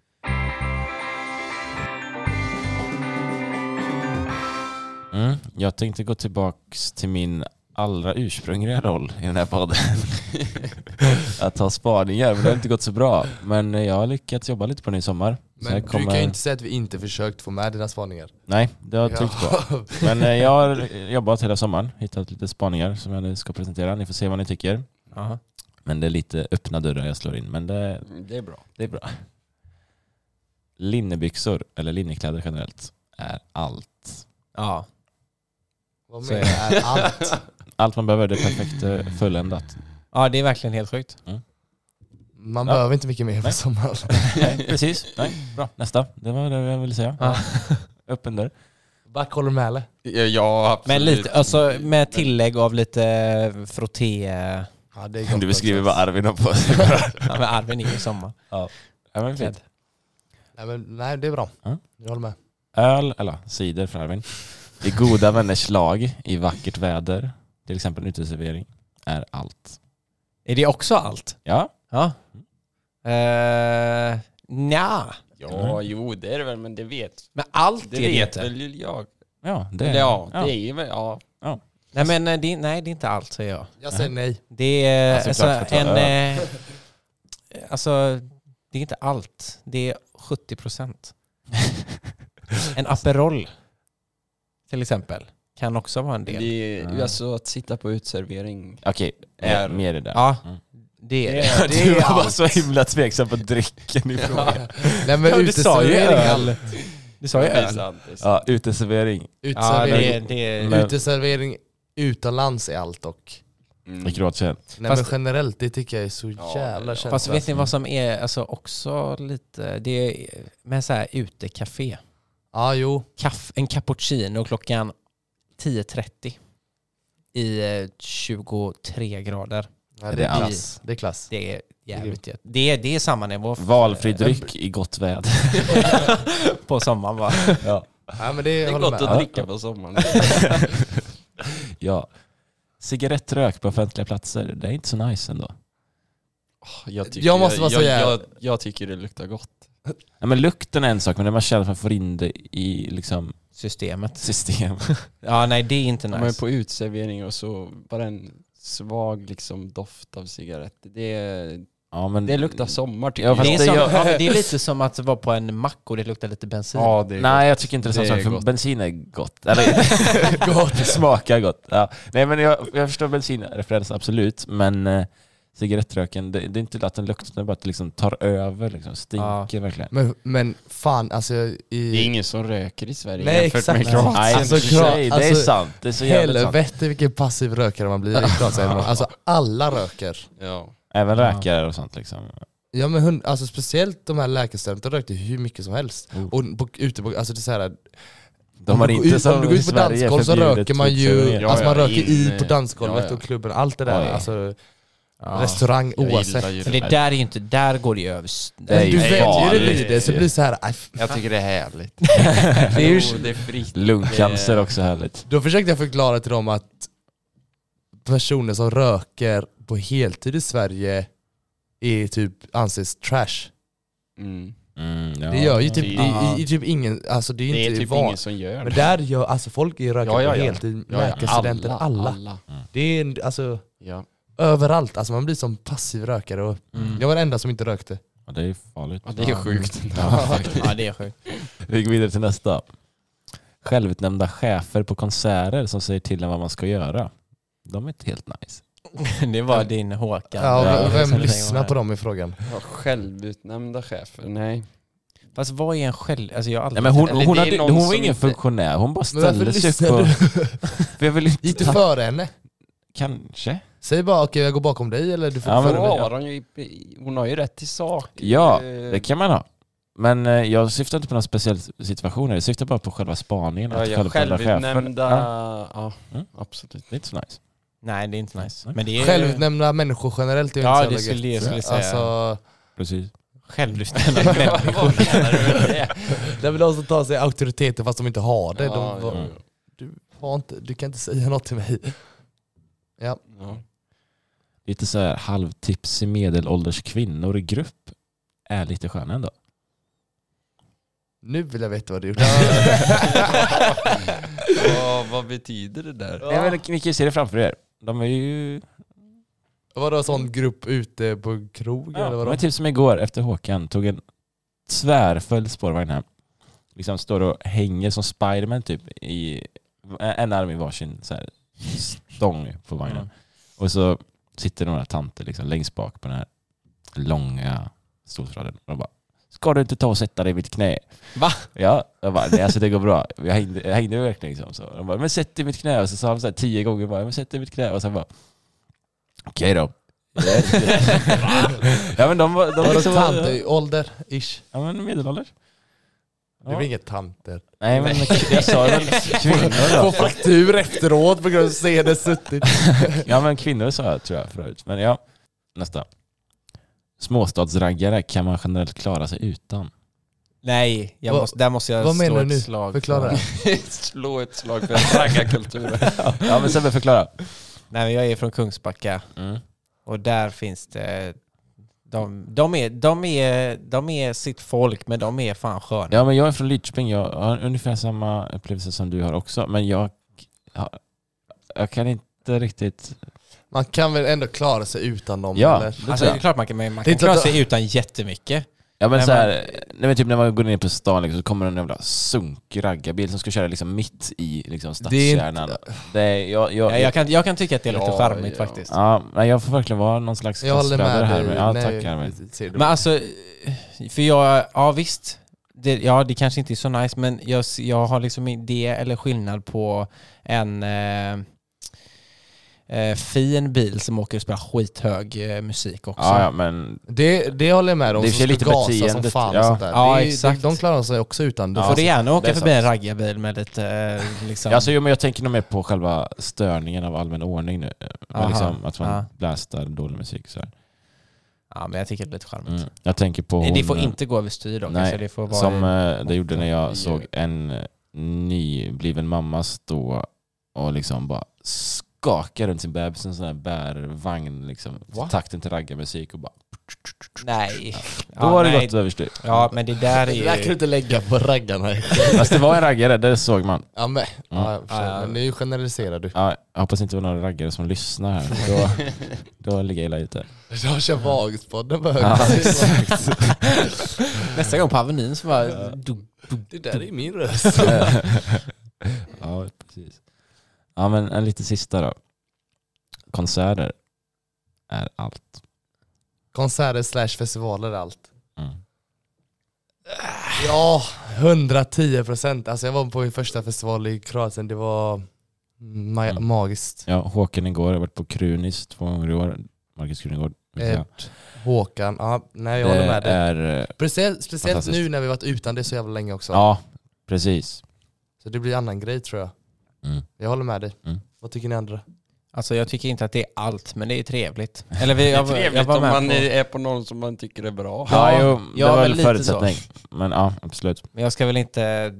Mm. Jag tänkte gå tillbaks till min allra ursprungliga roll i den här podden. att ta spaningar, men det har inte gått så bra. Men jag har lyckats jobba lite på den i sommar. Så
Men
jag
du kan ju inte säga att vi inte försökt få med dina spaningar.
Nej, det har jag tryckt på. Men eh, jag har jobbat hela sommaren, hittat lite spaningar som jag nu ska presentera. Ni får se vad ni tycker.
Aha.
Men det är lite öppna dörrar jag slår in, men det,
Det är bra.
det är bra. Linnebyxor, eller linnekläder generellt, är allt.
Ja.
Vad
Så
menar är allt?
Allt man behöver, det är perfekt eh, fulländat.
ja, det är verkligen helt sjukt.
Man
Ja.
behöver inte mycket mer på
Nej.
sommaren.
Nej, precis. Nej, bra. Nästa. Det var det jag ville säga.
Ja.
Öppen dörr.
Back håller med eller?
Ja, ja absolut.
Men lite, alltså med tillägg av lite frotté...
Ja, det är gott också.
Arvin har på sig.
Ja, men Arvin är ju sommar.
ja, men fint.
Nej, men, nej, det är bra.
Ja.
Jag håller med.
Öl, eller cider för Arvin, i goda vänners lag, i vackert väder, till exempel en uteservering, är allt.
Är det också allt?
Ja,
Ja. Uh, nja,
Ja, jo det är det väl, men det vet
men allt
Det
är det
vet
inte.
väl jag.
ja, det,
Eller ja,
ja.
det är väl, ja.
Nej, men eh, det, nej, det är inte allt säger jag.
Jag säger nej.
Det är
Alltså,
alltså,
klart för att
en...
ta
Eh, alltså, det är inte allt. Det är 70 procent. en Aperol, till exempel, kan också vara en del.
Det är,
Ja.
Alltså att sitta på utservering.
Okej,
Är-
är... mer i det.
Ja,
Mm.
det är det.
är-
Du var bara så himla tveksam på drycken i frågan.
Nej men
Ja, du sa ju
uteservering.
öl.
allt.
Du sa ju
det är
öl.
sant, det är sant.
Ja, uteservering.
Ja,
Uteservering.
det, det,
Mm.
Men-
Uteservering utomlands är allt dock.
Mm.
I Kroatien.
Nej
Fast-
men generellt, det tycker jag är så
Ja,
jävla
ja.
Fast
känsligt.
vet ni vad som är alltså också lite, det är med så här utekafé.
Ja jo,
Kaff, en cappuccino klockan 10.30 i eh, 23 grader.
ja,
Är
det,
det
är klass.
allt?
Det är klass.
Det är jävligt gött. Det, det är samma nivå för-
Valfri dryck i gott väder.
på sommaren va?
Ja.
Ja, men det,
Det är
håller
gott
med.
att dricka på sommaren.
ja. Cigarettrök på offentliga platser, det är inte så nice ändå.
Jag,
Jag måste bara
jag,
säga-
jag, jag tycker det luktar gott.
Ja, men lukten är en sak, men när man känner att man får in det i liksom,
Systemet.
system.
Ja nej det är inte
Nice. Man är
nice.
på utservering och så bara en svag liksom doft av cigarett. Det,
Ja, men...
det luktar sommar tycker
Ja,
jag.
fast
Det är,
det
som,
gör-
ja, men det är lite som att vara på en mack och det luktar lite bensin.
det
Nej, jag tycker inte det är samma
Det
sak,
är
för
gott.
bensin är gott. Eller, gott. Det smakar gott. Ja. Nej, men jag, jag förstår bensinreferensen, absolut. Men eh, cigarettröken, det, det är inte att den luktar, det är bara att det liksom tar över, liksom, stinker verkligen.
Men, men fan alltså
Det är
i...
ingen som röker i Sverige
Nej,
jämfört
exakt.
med Kroatien.
Nej,
Alltså,
i och för sig, det är
alltså,
sant. Det är så jävligt sant.
Helvete vilken passiv rökare man blir i Kroatien. Alltså alla röker.
Ja.
Även
Ja.
rökare och sånt liksom.
Ja men hund, alltså speciellt de här läkarstudenterna rökte hur mycket som helst.
Oh.
Och på, ute på, alltså det är så här,
De har
om du går
inte
ut-
som
Om du går
i
ut på
Sverige
dansgolv så
förbjudet
röker man ju,
uteservering.
Ja,
alltså man
ja,
röker i
in-
på dansgolvet
ja, ja.
och klubben, allt det där.
Oj.
Alltså
Ja.
restaurang
Jag gillar
oavsett.
ju
För det där är ju inte, där går det ju över.
Det är
Men
ju
du vänjer dig
farligt.
vid det så blir det så här, aj, f-
Jag tycker det är härligt.
Det är ju-
Jo, det är fritt.
Lungcancer också härligt.
Då försökte jag förklara till dem att personer som röker på heltid i Sverige är typ anses trash.
Mm.
Mm, ja.
Det gör ju typ, det
Ja.
är, i typ ingen, alltså det är ju
Det är
inte
typ ingen
vanligt.
som gör
Men
det.
där gör, alltså folk är röker
Ja, ja,
på
ja.
heltid,
Ja, ja.
läkarstudenter, alla.
alla.
Det är en- alltså
Ja.
överallt, alltså man blir som passiv rökare och
Mm.
jag var den enda som inte rökte.
Ja, det är farligt.
ja, det är sjukt.
Ja det är sjukt.
Vi går vidare till nästa. Självutnämnda chefer på konserter som säger till en vad man ska göra. De är inte helt nice.
Det var din Håkan.
Ja,
Ja,
vem-
det är
liksom-
vem lyssnar på dem i frågan?
Ja, Självutnämnda chefer, nej.
Fast vad är en själv... Alltså jag har aldrig...
Nej, men hon,
Eller det
hon,
är
hade,
någon
hon var
som
ingen
inte-
funktionär, hon bara
Men varför
ställde sig
lyssnar
upp.
du?
För jag vill inte
Gick du före henne?
Kanske.
Säg bara okej jag går bakom dig eller du får
Ja,
ja,
men-
Då
före mig.
har hon, ju, i- hon har ju rätt till sak.
Ja,
Eh,
det kan man ha. Men eh, jag syftar inte på några speciella situationer, jag syftar bara på själva spaningen.
ja,
att
ja,
självutnämnda chefer-
Självutnämnda,
Ja,
ja,
Mm.
absolut.
det är inte så nice.
Nej det är inte nice. Men det är...
Självutnämnda människor generellt är ju
Ja,
inte
det
så jävla
skulle-
gött.
det skulle jag säga.
Alltså,
Precis.
Självutnämnda människor.
Vad menar du med det?
det är väl de som tar sig auktoriteter fast de inte har det.
Ja,
De,
ja,
var- du, har inte, du kan inte säga något till mig.
ja.
Lite så här halvtipsig medelålders kvinnor i grupp är lite sköna ändå.
Nu vill jag veta vad du gjort.
Ja, vad betyder det där?
Ja.
Nej, men, ni kan ju se det framför er. De är ju...
Vadå sån grupp ute på krog
Ja,
eller
de
vadå?
är typ som igår efter Håkan tog en tvärföljd spårvagn hem. Liksom står och hänger som Spiderman typ i en arm i varsin så här, stång på vagnen.
Mm.
Och så sitter några tanter liksom längst bak på den här långa stolsraden och de bara Ska du inte ta och sätta dig i mitt knä?
Va?
Ja, jag bara nej alltså det går bra. Jag hängde, jag hängde verkligen liksom så. De bara men sätt dig i mitt knä och så sa de så här tio gånger bara men sätt dig i mitt knä och sen bara Okej då. ja men de var, de
Vadå
liksom,
tant i ålder? Ish.
ja men medelålders.
Det är väl inget tanter?
Nej men jag sa väl kvinnor
Få
då.
faktur efteråt på grund av att se det suttit.
Ja men kvinnor sa jag tror jag förut. Men ja, nästa. Småstadsraggare kan man generellt klara sig utan.
Nej, jag
Vad-
måste, där måste jag
vad
slå
menar
ett
du nu?
slag.
Förklara det.
Slå ett slag för raggarkulturen.
Ja men Sebbe förklara.
Nej, men jag är från Kungsbacka
Mm.
och där finns det... De, de, är, de, är, de är sitt folk, men de är fan sköna.
Ja men jag är från Lidköping, jag har ungefär samma upplevelse som du har också. Men jag, jag, jag kan inte riktigt...
Man kan väl ändå klara sig utan dem
Ja,
eller?
det
Alltså,
tror
det är
jag.
klart man kan, men man
Det är
kan
inte
klara
att-
sig utan jättemycket.
Ja men
Nej,
så här, nej, men typ när man går ner på stan liksom, så kommer en jävla sunkig raggarbil som ska köra liksom mitt i liksom,
Det är inte-
stadskärnan. Det är, jag, jag,
Ja, jag, kan, jag kan tycka att det är lite
Ja,
charmigt
ja.
faktiskt.
Ja, men jag får verkligen vara någon slags
Jag håller med
klassförrädare här
dig.
med. Ja,
Nej,
tack Armin.
ser du.
Men alltså, för jag, ja visst. Det, ja, det kanske inte är så nice, men jag, s- jag har liksom in- det eller skillnad på en eh, eh, fin bil som åker och spelar skithög eh, musik också.
Ja, ja, men
det, det håller jag med om.
Det är
som
för lite
ska gasa som
beteendet,
fan och
ja.
sånt där.
Ja,
det är,
exakt.
De klarar sig också utan.
Då
dem.
får du gärna
det
åka
är
förbi en
sant.
raggarbil med lite... eh, Liksom.
Alltså, jo, men jag tänker nog mer på själva störningen av allmän ordning nu. Men
Aha.
liksom, att man
Ja.
blastar dålig musik. Så här.
ja, men jag tycker det är lite charmigt.
Mm. Jag tänker på
Nej,
hon,
Det får
eh,
inte gå överstyr dock.
nej,
alltså, det får vara
som
i,
eh, det gjorde när
i-
jag såg en eh, nybliven mamma stå och liksom bara skaka runt sin bebis i en sån här bärvagn. Liksom,
Va?
takten till raggarmusik och bara...
nej.
Då var det
nej.
gått överstyr.
Ja, men det där är
Det där kan du
ju...
inte lägga på raggarna.
Fast det var en raggare, det såg man.
Ja, men, ja, jag förstår.
Ja, ja.
men nu generaliserar du.
Ja, jag hoppas inte det var några raggare som lyssnar här. Då, då ligger jag illa ute.
De kör Vagspodden på
Ja,
Nästa gång på Avenyn så bara... Du,
Det där är min röst.
ja, precis. Ja, men en lite sista då. Konserter är allt.
Konserter slash festivaler allt.
Mm.
Ja, 110 procent. Alltså jag var på min första festival i Kroatien, det var ma-
Mm.
magiskt.
Ja, Håkan igår, jag har varit på Krunis två gånger i år. Marcus Krunegård. vill säga.
Ett, Håkan, ja, nej jag håller med dig.
Är, eh,
Speciellt, speciellt
Fantastiskt.
nu när vi varit utan det så jävla länge också.
ja, precis.
Så det blir annan grej tror jag.
Mm.
Jag håller med dig.
Mm.
Vad tycker ni andra?
Alltså jag tycker inte att det är allt, men det är trevligt. Eller vi,
Det är
jag, jag
trevligt
var
om
med
man
på,
är på någon som man tycker är bra.
Ja,
Ja,
jo, det
ja,
var
men
väl
lite
förutsättning. Men ja, absolut.
men jag ska väl inte...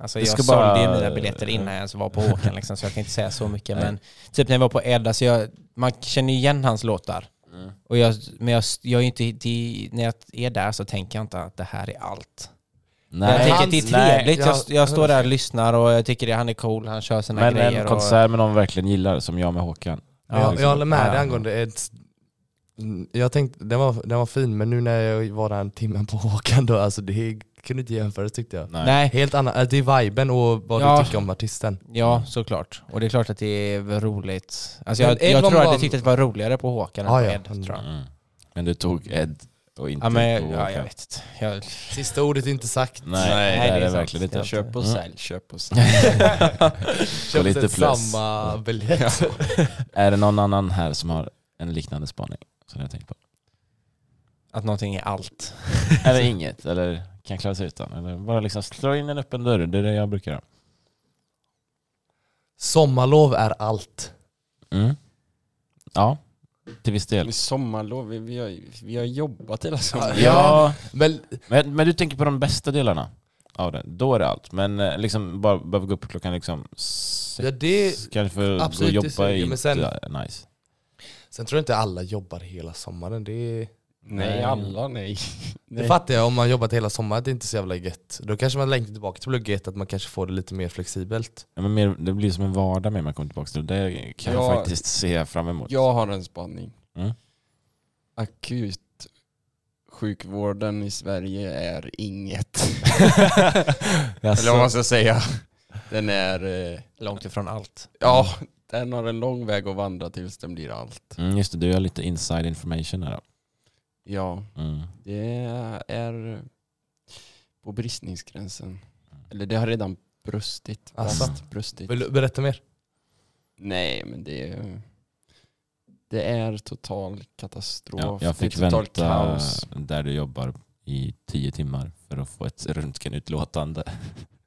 Alltså
Vi
jag
ska
sålde
bara-
ju mina biljetter innan jag ens var på Håkan liksom, så jag kan inte säga så mycket.
Nej.
Men typ när jag var på Edda, så jag, man känner ju igen hans låtar. Och jag, men jag, jag är inte, det, när jag är där så tänker jag inte att det här är allt. jag
Nej,
tänker att det är
nej.
trevligt. jag,
Ja.
jag står där och lyssnar och jag tycker det, han är cool, han kör sina
men
grejer.
en
och-
konsert med någon verkligen gillar, som jag med Håkan.
Ja,
jag,
liksom.
jag håller med dig
Ja.
angående ett Mm, jag tänkte, den var, den var fin men nu när jag var där en timme på Håkan då, alltså det kunde inte jämföras tyckte jag.
Nej.
Nej,
Helt annan, äh, det är viben och vad
Ja.
du tycker om artisten.
Ja, såklart. Och det är klart att det är roligt. Alltså
Men
jag,
Ed
jag
var
tror att
bra-
jag tyckte att det var roligare på Håkan än
Ja,
på
ja.
Ed. Tror jag.
Mm. Men du tog Ed och inte
Ja, men,
på
ja, jag
Håkan.
vet inte. Jag,
Sista ordet är inte sagt.
Nej,
Nej,
det,
det
är
är
det
sant.
verkligen inte.
Köp och
Mm.
sälj, köp och sälj.
Och
Köpte
lite plus.
samma biljett.
Är det någon annan här som har en liknande spaning som ni har tänkt på?
att någonting är allt.
Eller inget, eller kan klara sig utan. Eller bara liksom slå in en öppen dörr, det är det jag brukar göra.
Sommarlov är allt.
Mm. Ja, till viss del.
Med sommarlov, vi, vi, har, vi har jobbat hela sommaren.
Ja,
Men
men, men du tänker på de bästa delarna av det. Då är det allt. Men eh, liksom bara behöva gå upp klockan liksom sex,
ja, det,
kanske för att gå och
absolut, det
jobba
suger,
är
men
inte
sen-
nice.
sen tror jag inte alla jobbar hela sommaren. Det är,
Nej, alla nej.
Det fattar jag om man jobbat hela sommaren, det är inte så jävla gött. Då kanske man längtar tillbaka till plugget, att man kanske får det lite mer flexibelt.
Ja, men mer, det blir som en vardag med man kommer tillbaka till. Det kan
Ja.
jag faktiskt se fram emot.
Jag har en spaning.
Mm.
Akut sjukvården i Sverige är inget. Eller vad man
Jaså?
ska säga. Den är... eh,
Långt ifrån allt.
Ja, den har en lång väg att vandra tills den blir allt.
Mm, just det, du har lite inside information här
Ja,
då. Mm.
det är på bristningsgränsen.
Mm.
Eller det har redan brustit.
Alltså.
Brast, brustit.
Vill du berätta mer?
Nej, men det är... Det är total katastrof.
Ja, jag fick
det är total
vänta
kaos.
där du jobbar i tio timmar för att få ett röntgenutlåtande.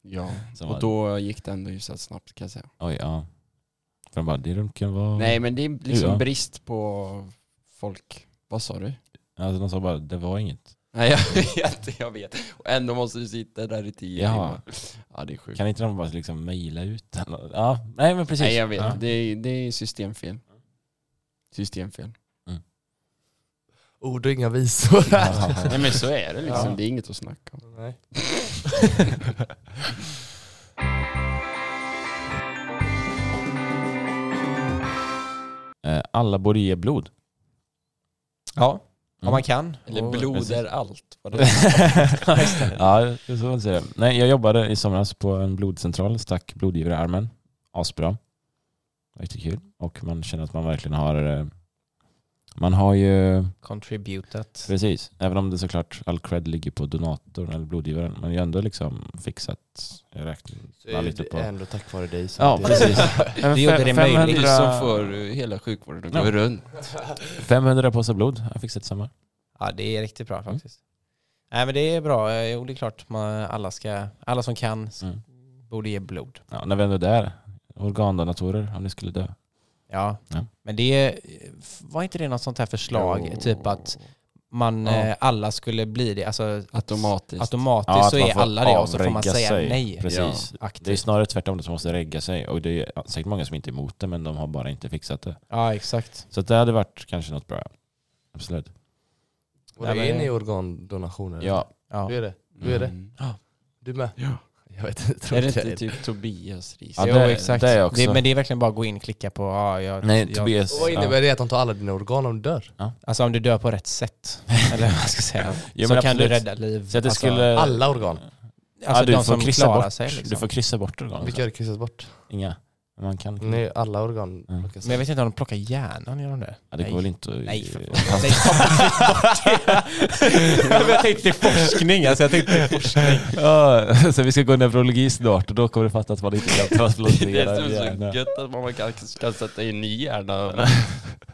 Ja,
Som
och
var,
då gick det ändå hyfsat snabbt kan jag säga.
Oj, ja. För de bara, det röntgen var...
Nej, men det är liksom
Ja.
brist på folk. Vad sa du?
Alltså, de sa bara, det var inget.
Nej, jag vet. Jag vet. Och ändå måste du sitta där i tio
Ja.
timmar. Ja, det är sjukt.
Kan inte de bara liksom mejla ut den? Ja, nej men precis.
Nej, jag vet.
Ja.
Det, är, det är systemfel. Systemfel.
Ord och inga visor här.
Nej, men så är det liksom.
Ja.
Det är inget att snacka om.
Nej.
Eh, Alla borde ge blod.
Ja,
Mm.
om man kan.
Eller
Och-
blod
precis.
är allt. Vadå?
ja, det är så man säger. Nej, jag jobbade i somras på en blodcentral, stack blodgivare i armen. Asbra. Jättekul. Och man känner att man verkligen har... eh, Man har ju...
Contributat.
Precis. Även om det såklart all cred ligger på donatorn eller blodgivaren. Men jag har ändå liksom fixat... Jag
Så är
räknar
det
lite på...
ändå tack vare dig. som
Ja,
det-
precis.
Det gjorde det
Det är
möjligt.
ju som får eh, hela sjukvården att
Ja.
gå runt.
500 påsar blod har jag fixat samma.
Ja, det är riktigt
Mm.
bra faktiskt. Nej, men det är bra. Eh, Jo, det är klart man, alla, ska, alla som kan s-
Mm.
borde ge blod.
Ja, när vi ändå är där. Organdonatorer om ni skulle dö.
Ja,
Ja.
men det var inte det något sånt här förslag?
Jo.
Typ att man,
Ja.
eh, alla skulle bli det. Alltså,
Automatiskt.
automatiskt
Ja, att
så
man
är
får
alla det och så får man
avregga
säga
sig.
nej.
Precis.
Aktivt.
Det är snarare tvärtom, de som måste regga sig. Och det är säkert många som inte är emot det, men de har bara inte fixat det.
Ja, exakt.
Så att det hade varit kanske något bra. Absolut.
Och
Nej,
det är
men-
ni organdonationer?
Ja,
Ja.
Du är det? Du är det?
Mm.
Du med?
Ja.
Jag vet inte. tror
Är det
inte jag
inte typ Tobias Ris?
Ja,
jo,
det-
exakt.
det är jag också.
men det är verkligen bara att gå in och klicka på... Ja, jag,
nej
jag,
Tobias.
Vad
ja.
innebär det att de tar alla dina organ om du dör?
Alltså om du dör på rätt sätt, eller vad man ska säga,
Jo,
så
men
kan du
absolut.
rädda liv.
Så att det
Alltså,
skulle...
Alla organ?
alltså
ja, du,
de
får
som
kryssa
klarar
bort,
sig. Liksom.
du får kryssa bort organ.
Vilka har det kryssats bort?
Inga. Men Man kan...
Nej, alla organ
Mm.
plockas.
Men jag vet inte om de plockar hjärnan, gör de det?
Ja, det går väl inte att-
Nej, för fan. Nej, ta bort det. Jag tänkte till forskning. Alltså, jag tänkte till forskning.
Ja, så vi ska gå neurologi snart och då kommer du fatta att man inte kan
Det
transplantera
är så
hjärna.
gött att man kan, kan sätta in ny hjärna.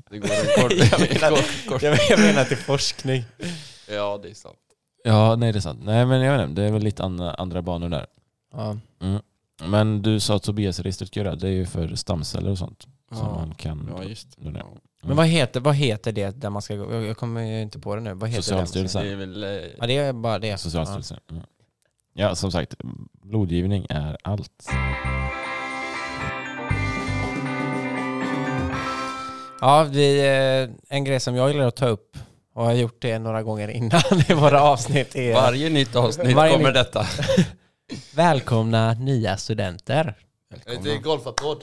Det går en kort, kort, kort.
Jag menar till forskning.
Ja, det är sant.
Ja, nej det är sant. Nej men jag vet inte, det är väl lite andra, andra banor där.
Ja.
Men du sa att Tobias-registret gör det, det är ju för stamceller och sånt. Som
Ja,
man kan...
ja just det.
donera.
Men vad heter, vad heter det där man ska gå? Jag jag kommer ju inte på det nu. Vad heter det?
Socialstyrelsen.
Det är väl... eh,
Ja, det är bara det.
Socialstyrelsen. Ja. ja, som sagt, blodgivning är allt.
Ja, vi, eh, en grej som jag gillar att ta upp och har gjort det några gånger innan i våra avsnitt är
Varje nytt avsnitt
Varje
kommer
nytt-
detta.
välkomna nya studenter.
Det är golfapplåd.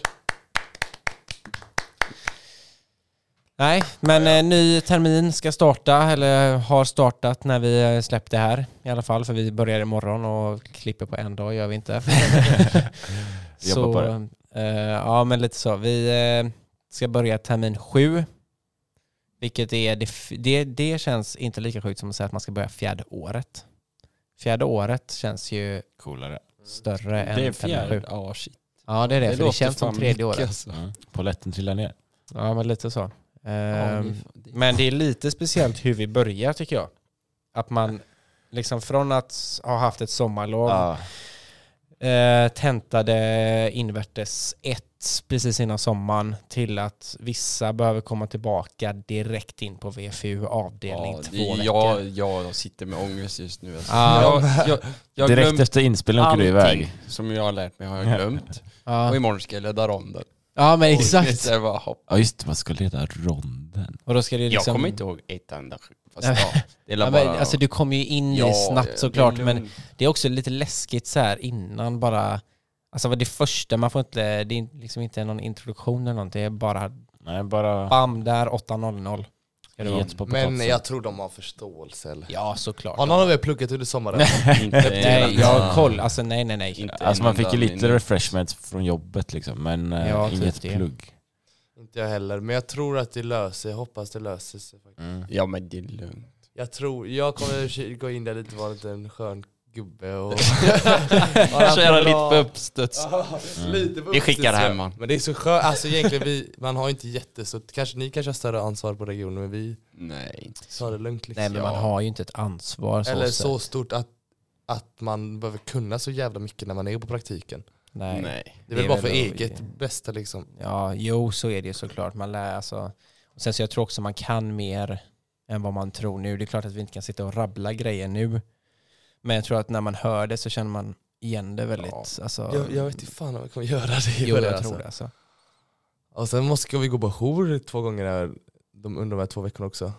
Nej, men eh, ny termin ska starta, eller har startat när vi eh, släppt det här i alla fall, för vi börjar imorgon och klipper på en dag, gör vi inte.
Jobbar på det.
eh, ja, men lite så. Vi eh, ska börja termin sju, vilket är, det, f- det, det känns inte lika sjukt som att säga att man ska börja fjärde året. Fjärde året känns ju
Coolare.
större än
Mm, Det är
termin sju.
fjärde. Ja, shit.
Ja, det är det, för det
låter
känns som Ehm,
fan
tredje
mycket,
året.
alltså.
Mm. Poletten trillar ner.
Ja, men lite så.
Ja,
Ehm,
det är fan- det är-
Men det är lite speciellt hur vi börjar tycker jag. Att man liksom från att ha haft ett sommarlov,
Ja.
eh, tentade invärtes ett precis innan sommaren till att vissa behöver komma tillbaka direkt in på VFU avdelning
Ja, det
två
är-
veckor.
jag, jag, jag sitter med ångest just nu. Alltså.
Ja.
jag, jag, jag har
Direkt
glömt
efter inspelningen åker du iväg.
som jag har lärt mig har jag glömt. Och
Ja.
imorgon ska jag leda ronden.
ja men
Och
exakt.
det är bara, hopp.
Ja just det, man ska leda ronden.
Och då ska det
Jag
liksom,
kommer inte ihåg ett enda Fast ja, det är
Ja,
väl
men,
bara...
alltså du kommer ju in i snabbt såklart, men det är också lite läskigt så här innan bara. Alltså vad det första, man får inte, det är liksom inte någon introduktion eller någonting, det är bara
Nej, bara
bam där 8.00. Ska det vara.
gets på
Men
potatisen.
jag tror de har förståelse. Eller?
Ja såklart.
Har någon av er pluggat under sommaren?
inte,
Nej, jag har koll. Alltså nej, nej, nej.
Inte
Alltså
en
man fick ju
enda
lite
minut.
refreshments från jobbet liksom, men eh,
Ja, typ
inget
det.
plugg.
Inte jag heller, men jag tror att det löser sig. Jag hoppas det löser sig. faktiskt.
Mm.
Ja men det är lugnt.
Jag tror, jag kommer gå in där lite, vara lite en skön gubbe och... Bara
Köra
bra-
lite på uppstuds.
Ja, lite på
Vi skickar
uppstuds,
hem
ja.
han.
Men det är så skönt, alltså egentligen vi, man har inte jättestort, kanske, ni kanske har större ansvar på regionen men vi
Nej, inte så.
tar det lugnt liksom.
Nej men man har ju inte ett ansvar så
Eller
sett.
så stort att, att man behöver kunna så jävla mycket när man är på praktiken.
Nej.
Nej.
Det är väl
Det är
bara för
väl då-
eget bästa liksom.
Ja, jo så är det ju såklart. Man lär alltså. Och sen så jag tror också man kan mer än vad man tror nu. Det är klart att vi inte kan sitta och rabbla grejer nu. Men jag tror att när man hör det så känner man igen det väldigt.
Ja.
Alltså,
Jag, jag vet inte fan om jag kommer göra det.
jo,
i
jag
början,
tror
alltså.
det alltså.
Och sen måste ska vi gå på jour två gånger här, de, under de här två veckorna också.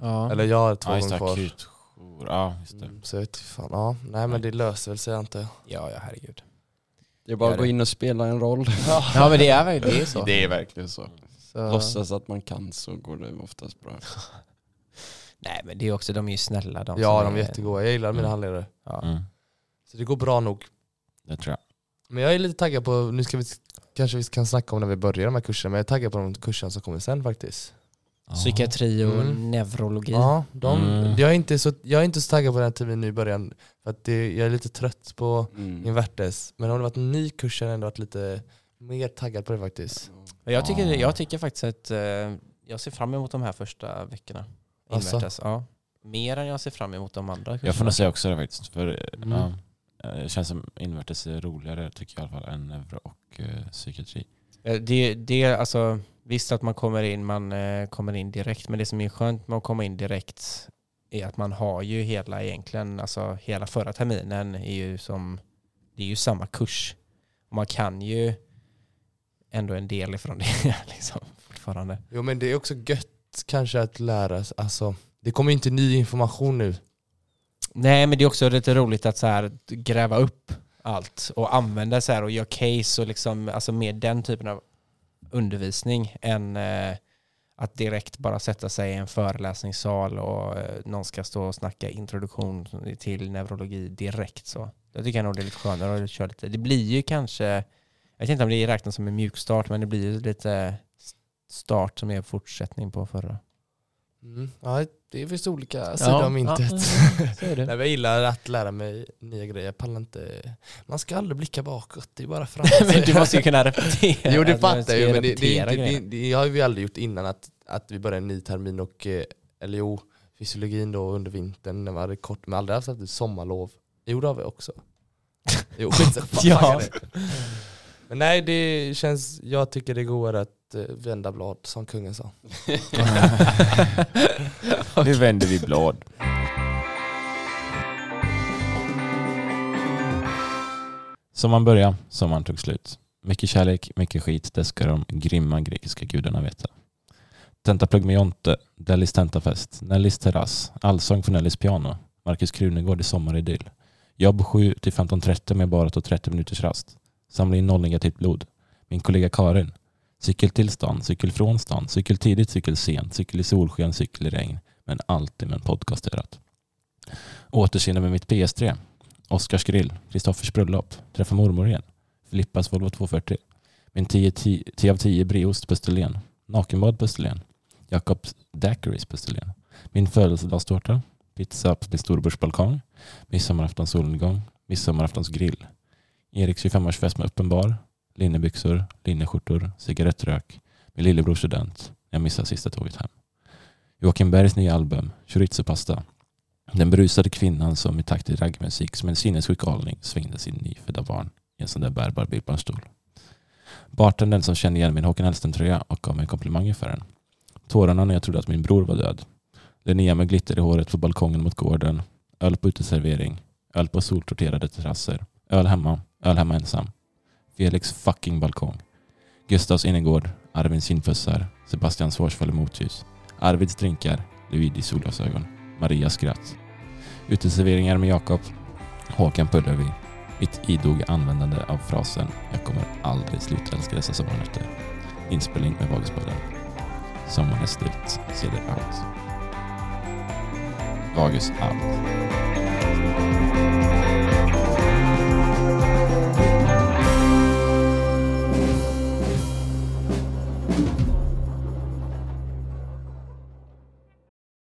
Ja.
Eller jag har två
Ja, just
gånger
det,
kvar.
akutjour. Ja, just det.
Mm.
Så jag vet inte fan, ja. Nej men det löser väl sig antar jag.
ja, ja herregud.
Det är bara
Gör
att gå
det.
in och spela en roll.
Ja men det är väl det är så.
Det är verkligen så.
så.
Låtsas att man kan så går det oftast bra.
Nej men det är också, de är ju snälla de
Ja
som
de är jättegoda, jag gillar mina
Mm.
handledare.
Ja.
Mm.
Så det går bra nog.
Det tror jag.
Men jag är lite taggad på, nu ska vi, kanske vi kan snacka om när vi börjar de här kurserna, men jag är taggad på de kurserna som kommer sen faktiskt.
Psykiatri och
Mm.
neurologi.
Ja, de,
Mm.
jag, är inte så, jag är inte så taggad på den här terminen nu i början, för att det, jag är lite trött på
Mm.
Invertes. Men om det varit en ny kurs så har jag ändå varit lite mer taggad på det faktiskt.
Men Jag tycker,
Ja.
jag tycker faktiskt att eh, jag ser fram emot de här första veckorna.
Alltså?
Invärtes, ja. Mer än jag ser fram emot de andra.
Jag får
kurserna.
nog säga också det faktiskt. För,
Mm.
ja, eh, det känns som invärtes är roligare tycker jag i alla fall än neuro och eh, psykiatri.
Eh, Det, det är alltså, visst att man kommer in, man eh, kommer in direkt, men det som är skönt med att komma in direkt är att man har ju hela egentligen, alltså hela förra terminen är ju som, det är ju samma kurs. Man kan ju ändå en del ifrån det liksom, fortfarande.
Jo men det är också gött kanske att lära sig, alltså det kommer ju inte ny information nu.
Nej, men det är också lite roligt att så här gräva upp allt och använda så här och göra case och liksom, alltså med den typen av undervisning än eh, att direkt bara sätta sig i en föreläsningssal och eh, någon ska stå och snacka introduktion till neurologi direkt så. Jag tycker nog det är lite skönare att köra lite. Det blir ju kanske, jag vet inte om det räknas som en mjukstart, men det blir ju lite start som är fortsättning på förra. Mm.
Ja, det finns olika sidor av myntet.
så är det.
Nej, men jag gillar att lära mig nya grejer. Jag pallar inte. Man ska aldrig blicka bakåt, det är bara framåt.
men du måste ju kunna repetera.
Jo det
Du måste
fattar jag ju, men det, det, är
repetera
inte, det,
grejerna.
det har vi aldrig gjort innan att, att vi börjar en ny termin och, eh, eller jo, fysiologin då under vintern när man hade kort, men aldrig haft ett sommarlov. Jo det har vi också. Jo skitsamma.
Ja.
Men nej det känns, jag tycker det är godare att eh, vända blad som kungen sa.
Nu vänder vi blad. Som man började, som man tog slut. Mycket kärlek, mycket skit, det ska de grymma grekiska gudarna veta. Tentaplugg med Jonte, Dellis tentafest, Nellys terrass, allsång för Nellys piano, Marcus Krunegård i sommaridyll. Jobb 7 till 15.30 med bara att 30 minuters rast. Samla in nollnegativt blod. Min kollega Karin. Cykel till stan, cykel från stan, cykel tidigt, cykel sent, cykel i solsken, cykel i regn men alltid med en podcast i örat. Återseende med mitt PS3, Oscars grill, Kristoffers bröllop, träffa mormor igen, Filippas Volvo 240, min 10, 10, 10 av 10 brieost på Österlen, nakenbad på Österlen, Jakobs daiquiris på Österlen, min födelsedagstårta, pizza på min storbrors balkong, midsommaraftons solnedgång, midsommaraftons grill, Eriks 25-årsfest med öppen bar, linnebyxor, linneskjortor, cigarettrök, min lillebrors student, jag missar sista tåget hem. Joakim Bergs nya album, Chorizo-pasta. Den brusade kvinnan som i takt till raggmusik som en sinnessjuk galning svängde sin nyfödda barn i en sån där bärbar bil på en stol. Bartendern som kände igen min Håkan Hellström-tröja och gav mig komplimanger för den. Tårarna när jag trodde att min bror var död. Linnea med glitter i håret på balkongen mot gården. Öl på uteservering. Öl på soltorterade terrasser. Öl hemma. Öl hemma ensam. Felix fucking balkong. Gustavs innergård. Arvins kindpussar. Sebastians hårsfall i motljus. Arvids drinkar, Luigi solglasögon, Maria skratt. Uteserveringar med Jakob, Håkan Pullervi. Mitt idoga användande av frasen “Jag kommer aldrig sluta älska dessa sommarnätter”. Inspelning med Vaguspodden. Sommaren är slut, seder out. Vagus out.